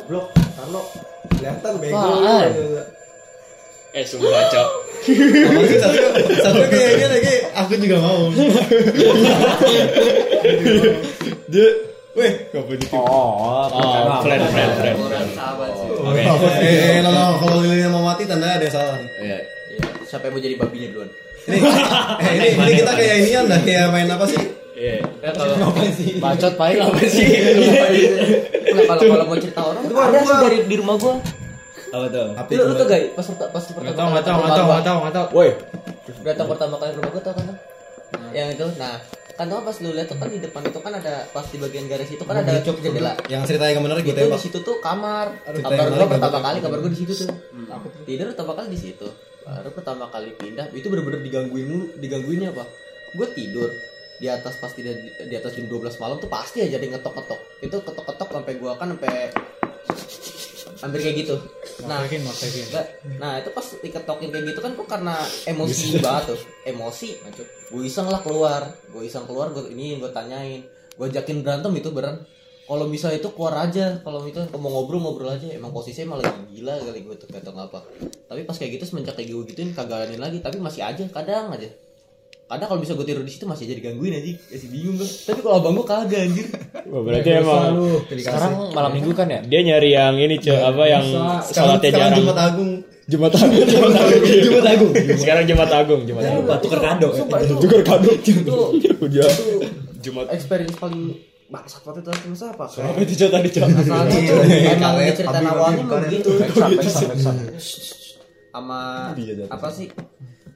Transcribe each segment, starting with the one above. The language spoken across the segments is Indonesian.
Karno kelihatan bego Wah, lu. ah. Eh sumpah cok Maksudnya satu, satu kayaknya lagi aku juga mau. Dia, weh, gak punya tipe. Oh, Oh friend friend friend Orang sahabat sih. Oke Eh, eh, lo, lo, kalau lilinnya mau mati tanda ada yang salah. nih. Iya. Iya. Siapa yang mau jadi babinya duluan? Ini, eh, ini, ini kita kayak ini dah kayak main apa sih? Iya Ya kalau bacot paling apa sih? Nggak, kalau kalau mau cerita orang Keluar, ada sih keluar. dari di rumah gua. Apa tuh? Apa Lu, lu tuh gak pas perta- pas pertama Nggak tahu, nggak tahu, rumah nggak tahu, gua. nggak tahu, nggak tahu. Woi, datang pertama kali rumah gua tau kan Tom? yang itu nah kan tau pas lu lihat tuh kan di depan itu kan ada pas di bagian garis itu kan ada cok jendela yang cerita yang benar gue itu di tembak. situ tuh kamar Aduh, kabar tembak gua lagi, pertama tembak. kali kabar gua di situ tuh tidur pertama kali di situ baru pertama kali pindah itu bener-bener digangguin mulu digangguinnya apa gua tidur di atas pasti di, di atas jam 12 malam tuh pasti aja ada yang ngetok-ngetok itu ketok-ketok sampai gua kan sampai hampir kayak gitu nah Makin makin. Nggak. Nah itu pas diketokin kayak gitu kan kok karena emosi banget tuh Emosi Gue iseng lah keluar Gue iseng keluar gue ini gue tanyain Gue ajakin berantem itu beran kalau bisa itu keluar aja kalau itu mau ngobrol ngobrol aja emang posisinya emang lagi gila kali gue tuh atau apa tapi pas kayak gitu semenjak kayak gue gituin kagak aneh lagi tapi masih aja kadang aja kadang kalau bisa gue tidur di situ masih aja digangguin aja masih bingung gue tapi kalau abang gue kagak anjir Wah, Oh, Berarti emang Sekarang malam minggu kan ya? dia nyari yang ini cok apa yang Sekarang, sholatnya sekarang jarang Jumat Agung. Iya. Jumat Agung Jumat Iya, Agung Jumat Agung. Nah, sekarang Jumat Agung Jumat Agung Tukar kado. Sumpah, itu- Tukar kado itu- Udah. itu Jumat experience paling bangsat waktu itu masa apa Kayak- apa itu cok tadi cok Masalahnya Iya, tuh iya, emang karet, cerita tapi awalnya bagian emang karet. begitu sama Iya, jatuh. apa sih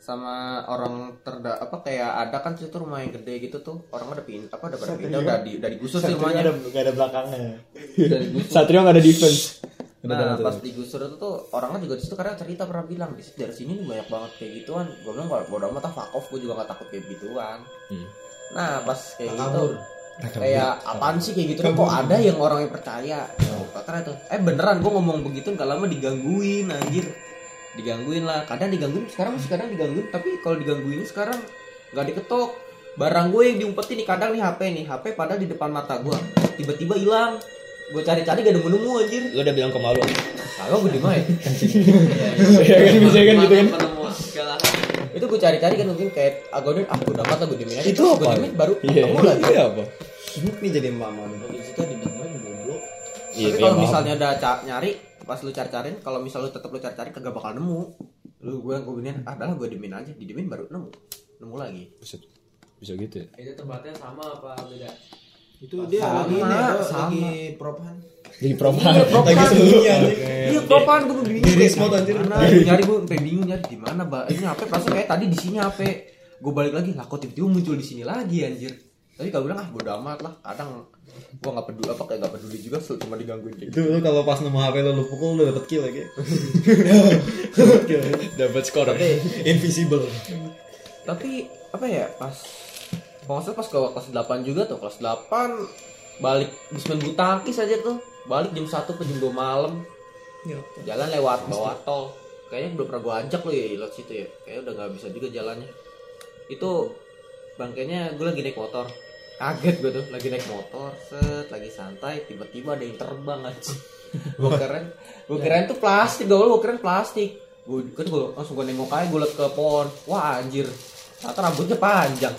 sama orang terda apa kayak ada kan situ rumah yang gede gitu tuh orang ada pindah apa ada pada pindah udah di udah digusur sih rumahnya Gak ada belakangnya. udah digusur Satrio nggak ada defense nah pas digusur itu tuh orangnya juga di situ karena cerita pernah bilang di situ dari sini nih banyak banget kayak gituan gue bilang kalau bodo amat ah fuck off gue juga gak takut kayak gituan Hmm. nah pas kayak gitu kayak apaan sih kayak gitu kok ada yang orang yang percaya karena itu eh beneran gue ngomong begitu gak lama digangguin anjir digangguin lah kadang digangguin sekarang masih kadang digangguin tapi kalau digangguin sekarang nggak diketok barang gue yang diumpetin nih kadang nih HP nih HP padahal di depan mata gue tiba-tiba hilang gue cari-cari gak nemu-nemu anjir lu udah bilang ke malu kalau gue di mana ya? ya kan bisa kan gitu kan itu gue cari-cari kan mungkin kayak agonin ah gue dapat lah gue dimin aja Itu Terus gue apa? ya? dimin baru iya ketemu lagi Eh, iya apa Ini jadi mama. nih. di situ dimin goblok iya Tapi kalau misalnya ada ca- nyari, pas lu cari-carin, kalau misal lu tetap lu cari-cari kagak bakal nemu. Lu gue gue binin, ah adalah gue dimin aja, dimin baru nemu. Nemu lagi. bisa gitu ya Itu tempatnya sama apa beda? Itu dia Sama, lagi ini apa, sama. lagi propan. jadi propan Lagi sebelumnya. Iya, kapan gue bingung. Di kayak remote, anjir. Mana Gua nyari gue sampai bingung nyari di mana, Mbak. Ini HP pas kayak tadi di sini HP. Gue balik lagi, lah kok tiba-tiba muncul di sini lagi anjir. Tapi kalau bilang ah bodo amat lah, kadang gue gak peduli apa kayak gak peduli juga cuma digangguin kayak gitu. Itu lu kalau pas nemu HP lu lu pukul lu dapet kill lagi. dapat skor Invisible. tapi apa ya pas kalau nggak salah pas ke kelas 8 juga tuh kelas 8 balik bis main bulu tangkis aja tuh balik jam 1 ke jam 2 malam jalan lewat bawah tol kayaknya belum pernah gua ajak lo ya lewat situ ya kayaknya udah nggak bisa juga jalannya itu bangkainya gue lagi naik motor kaget gue tuh lagi naik motor set lagi santai tiba-tiba ada yang terbang aja gue keren gue Ya. keren tuh plastik gak gue keren plastik gue kan gue langsung gue nengok aja gue liat ke pohon wah anjir ternyata rambutnya panjang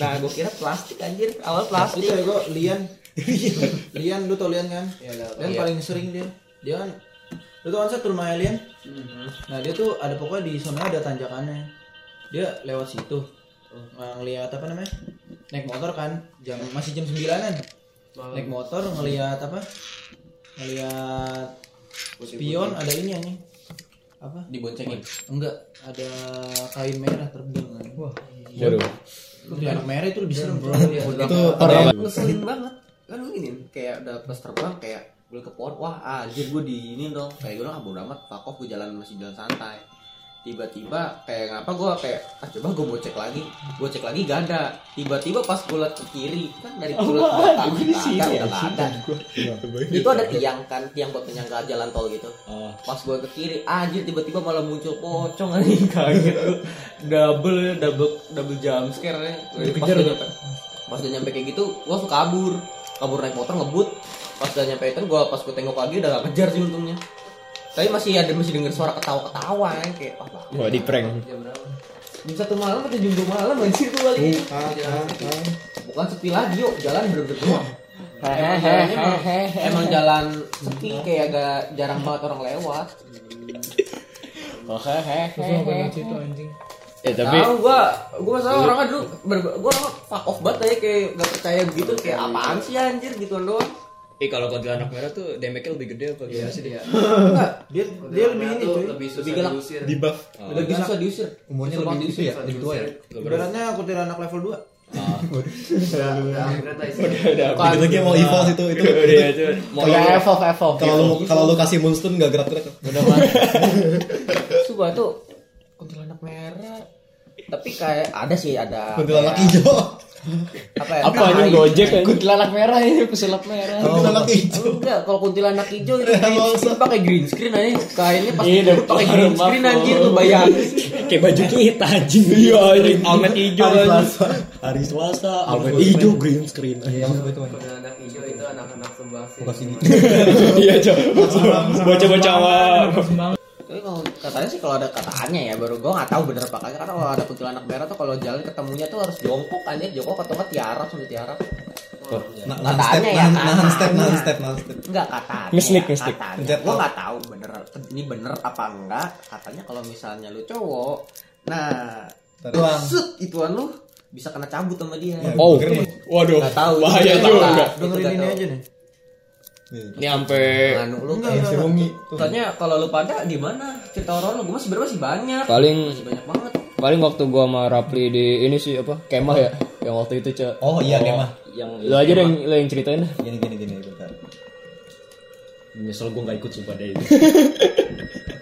nah gue kira plastik anjir awal Itu plastik ya gue Lian. Lian lu tau Lian kan? Lian Iya. paling sering dia. Dia kan lu tau kan satu rumahnya Lian? Mm-hmm. Nah, dia tuh ada pokoknya di sana ada tanjakannya. Dia lewat situ. Oh. Nah, ngeliat apa namanya? Naik motor kan. Jam masih jam 9-an. Naik motor ngeliat apa? Ngeliat spion eh. ada ini anjing. Apa? diboncengin Enggak, ada kain merah terbang kan. Wah, Waduh. anak merah itu lebih Iya, serem bro. itu parah. ngeselin banget kan lu ini kayak udah pas terbang kayak gue ke pohon wah anjir gue di ini dong kayak gue bilang ah bodo amat fuck off gue jalan masih jalan santai tiba-tiba kayak ngapa gue kayak ah coba gue mau cek lagi gue cek lagi gak ada tiba-tiba pas gue liat ke kiri kan dari gue liat ke belakang ke kanan ya? nggak ada Iya. itu ada tiang kan tiang buat penyangga jalan tol gitu Oh. pas gue ke kiri anjir tiba-tiba malah muncul pocong anjing kaget gue double double double jump scare nya pas udah nyampe pas udah nyampe kayak gitu gue langsung kabur kabur naik motor ngebut pas udah nyampe itu gua pas gua tengok lagi udah gak kejar sih untungnya tapi masih ada masih denger suara ketawa-ketawa ya kayak wah bang. Wah di prank. jam berapa jam satu malam atau jam dua malam anjir gua balik bukan sepi lagi yuk jalan bener-bener doang Emang jalannya emang- emang jalan sepi kayak agak jarang banget orang lewat Terus apa yang situ anjing? Eh tapi Tahu gua, gua masalah orangnya dulu ber- gua orang fuck off banget aja kayak gak percaya gitu kayak apaan sih anjir gituan doang. Eh kalau anak merah tuh damage-nya lebih gede apa gimana sih? dia Dia dia lebih ini cuy. lebih susah Lebih gelap. diusir Di buff. Lebih susah diusir. Umurnya lebih Susah banget gitu ya, susah lebih tua ya. diusir. Ibaratnya kuntilanak level 2. Udah, akhirnya tai sih. Iya, Bukan. Lagi mau evolve itu Iya, itu. itu. Kayak evolve evolve. Kalau lu gitu. kalau lu kasih moonstone enggak gerak-gerak. Terus gua tuh kuntilanak merah. Tapi kayak ada sih ada. Kuntilanak kayak- hijau. Apa ya? Apa ini gojek? Kuntilanak merah ini pesulap merah. Kuntilanak Oh. hijau. Enggak, kalau kuntilanak hijau itu green Emang screen, pakai green screen aja kainnya pas Iya, tutup pakai green maaf, screen anjir Bro. tuh bayangin. Kayak baju cuit anjing. Iya, anjing. Almet hijau. Hari Selasa. Hari Selasa. Iya, Almet hijau green screen. Iya, anak hijau itu anak-anak sumbangsi Iya, coba. Bocah-bocah awal. Tapi kalau katanya sih kalau ada kataannya ya baru gua nggak tahu bener apa kagak karena kalau ada kuntilanak merah tuh kalau jalan ketemunya tuh harus jongkok anjir jongkok atau nggak tiarap sama tiarap. Nah, Nahan step, nahan nahan step, nahan step, nahan step. Enggak katanya. Mislik, mislik. Katanya. Pencet Gua lo. nggak tahu bener ini bener apa enggak. Katanya kalau misalnya lu cowok, nah Tuang. set ituan lu bisa kena cabut sama dia. Ya, Iya. Oh. keren. Waduh. Nggak tahu. Nggak Bahaya juga. tahu. Itu Dengerin nggak ini tahu. aja nih. Nih. Ini sampai Nganu lu Enggak, Eh, Iya, kayak- enggak, enggak. Tanya kalau lu pada gimana cerita orang lu? Gue sebenarnya masih banyak. Paling Masih banyak banget. paling waktu gua sama Rapli di ini sih apa? Kemah ya. Yang waktu itu, Cek. Oh iya, kemah. yang Lu aja deh yang lu yang ceritain. dah. Gini gini gini bentar. nyesel gua enggak ikut sumpah deh.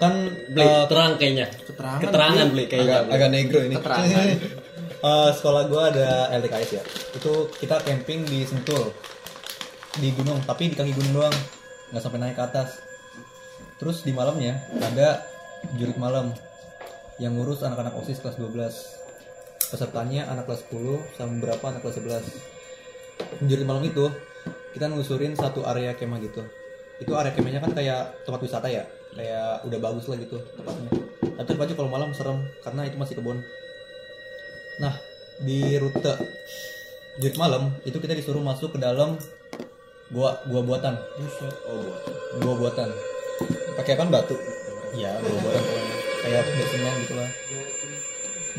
Kan eh, terang kayaknya. Keterangan. Keterangan beli agak, kayaknya. agak negro ya. ini. Keterangan. Eh, sekolah gua ada LTKS ya. Itu kita camping di Sentul. Di gunung, tapi di kaki gunung doang. Nggak sampai naik ke atas. Terus di malamnya ada jurik malam yang ngurus anak-anak OSIS kelas 12. Pesertanya anak kelas 10 sama beberapa anak kelas 11. Jurik malam itu kita nelusurin satu area kemah gitu. Itu area kemahnya kan kayak tempat wisata ya. Kayak udah bagus lah gitu tempatnya. Tapi terpacu kalau malam serem karena itu masih kebun. Nah, di rute Jurit malam itu kita disuruh masuk ke dalam gua gua buatan. Oh, buatan. Gua buatan. Pakai apa batu? Iya, gua buatan. Kayak basement gitu lah.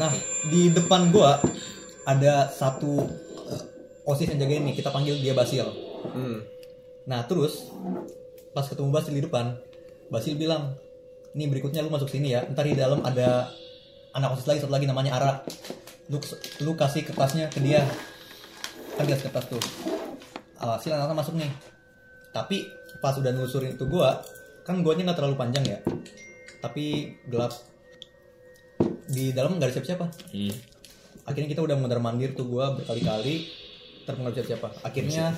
Nah, di depan gua ada satu eh, OSIS yang jagain nih, kita panggil dia Basil. Hmm. Nah, terus pas ketemu Basil di depan, Basil bilang, "Nih berikutnya lu masuk sini ya. Ntar di dalam ada anak OSIS lagi satu lagi namanya Ara. Lu lu kasih kertasnya ke dia." Kan dia kasih kertas tuh. Alhasil anak-anak masuk nih. Tapi pas udah nelusurin itu gua, kan guanya nggak terlalu panjang ya. Tapi gelap. Di dalam nggak ada siapa-siapa akhirnya kita udah mondar mandir tuh gua berkali-kali terpengaruh siapa siapa akhirnya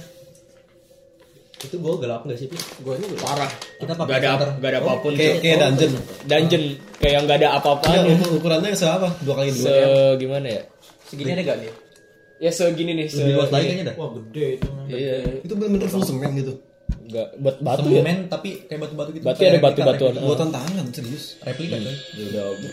itu gua gelap nggak sih Pi? gua ini gelap parah kita pakai Gak ada filter Oh, gak ada apapun. kayak Cuk. kayak dungeon Dungeon kayak nggak ada apa-apaan. ukur gitu. ukurannya seapa dua kali Se gimana ya? Segini ada gak nih? Ya segini nih, se lebih luas lagi kayaknya dah Wah, gede itu. man. Iya. Itu bener-bener full semen gitu. Enggak buat batu Semen, ya. tapi kayak batu-batu gitu Berarti Kayak ada replika, batu-batuan. replika. Buatan tangan serius. replika coy.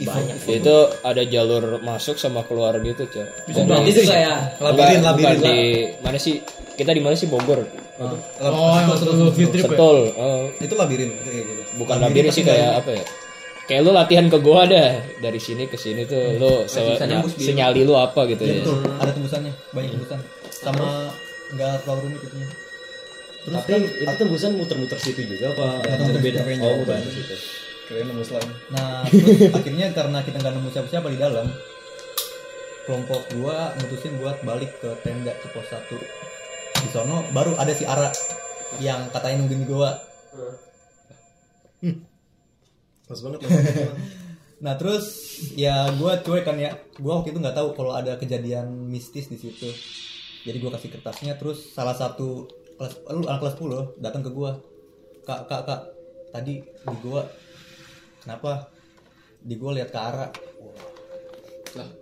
Banyak. Itu ada jalur masuk sama keluar gitu, Cak. Itu kayak labirin labirin di mana sih? Kita di mana sih Bogor? Lab- Oh, yang waktu lu field trip ya? Sentul. Oh, itu labirin itu kayak gitu bukan labirin tapi sih nggak- kayak apa ya? Kayak lu latihan ke gua dah dari sini ke sini tuh lu se- misalnya ya, bus biru. senyali lu apa gitu Iya ya. betul, ada tembusannya, banyak tembusan. Sama nggak terlalu rumit gitu. Terus Tapi itu tembusan muter-muter situ juga apa? Nggak tahu Beda. kayaknya. Oh, muter situ. Keren nemu slime. Nah, terus akhirnya karena kita nggak nemu siapa-siapa di dalam, kelompok gua mutusin buat balik ke tenda ke pos 1. Di sono baru ada si Ara yang katanya nungguin gua. Hmm. Pas banget. Nah, terus ya gua cuek kan ya. Gua waktu itu nggak tahu kalau ada kejadian mistis di situ. Jadi gua kasih kertasnya terus salah satu kelas lu anak kelas 10 datang ke gua. Kak, kak, kak. Tadi di gua kenapa? Di gua lihat ke Ara.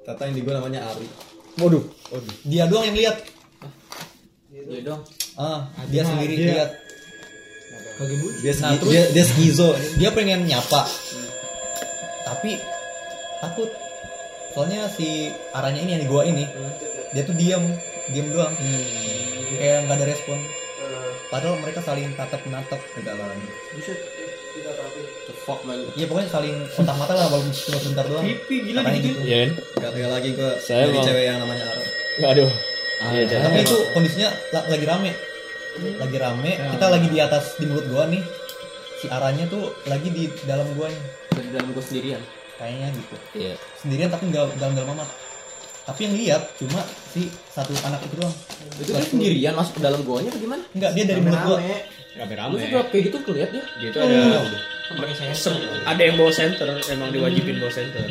Tata yang di gua namanya Ari. Waduh. Dia doang yang lihat. Iya dong. Ah, dia sendiri lihat. Kaki bulu. Dia, Nah, ski- terus- dia, dia skizo. dia pengen nyapa tapi takut soalnya si arahnya ini yang di gua ini dia tuh diam diam doang kayak nggak ada respon padahal mereka saling tatap menatap ke dalam The fuck man. Iya pokoknya saling kontak mata lah walaupun cuma sebentar doang. gila Katanya gitu. Iya kan? Gak tega lagi gue Saya jadi mau- cewek yang namanya Ara. Aduh. Iya, Chan. Tapi itu kondisinya la- lagi rame. Lagi rame, Iya. kita lagi di atas di mulut gua nih. Si arahnya tuh lagi di dalam gua nih. Dari dalam gua sendirian. Kayaknya gitu. Iya. Sendirian tapi nggak dalam-dalam amat. Tapi yang lihat cuma si satu anak itu doang. Itu dia sendirian masuk ke dalam goanya apa gimana? Enggak, dia dari mulut gua. Lu rame-rame juga kayak gitu ngeliat dia. dia Iya, tuh ada Sem- ada yang bawa center emang diwajibin bawa center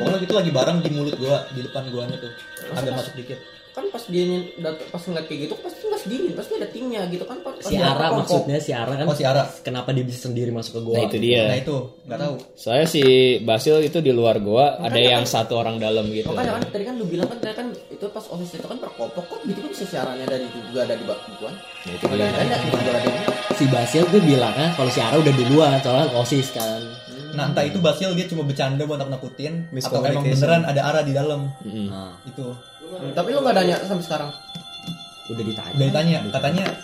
Pokoknya itu lagi bareng di mulut gua, di depan guanya tuh. Agak masuk dikit. Kan pas dia nyen- dat- pas ngeliat kayak gitu pasti nggak sendirian, pasti ada timnya gitu kan. Pas, Si Ara maksudnya si Ara kan Oh, si Ara. kenapa dia bisa sendiri masuk ke gua? Hmm. Nah itu Nah dia. itu, nggak tahu. Soalnya si Basil itu di luar gua ada yang satu orang dalam gitu. Makanya kan tadi kan lu bilang kan tadi kan itu pas office itu kan perkopok kok gitu kan bisa siarannya dari juga ada di bakbuan. Nah, itu dia. Ada di bakbuan. Si Basil gue bilangnya kalau si Ara udah duluan soalnya osis kan. Nah entah itu Basil dia cuma bercanda buat nakut-nakutin atau emang Miscommunication. beneran ada arah di dalam Mm-mm. Nah, itu. Tapi lu nggak nanya sampai sekarang. udah ditanya. Udah ditanya, katanya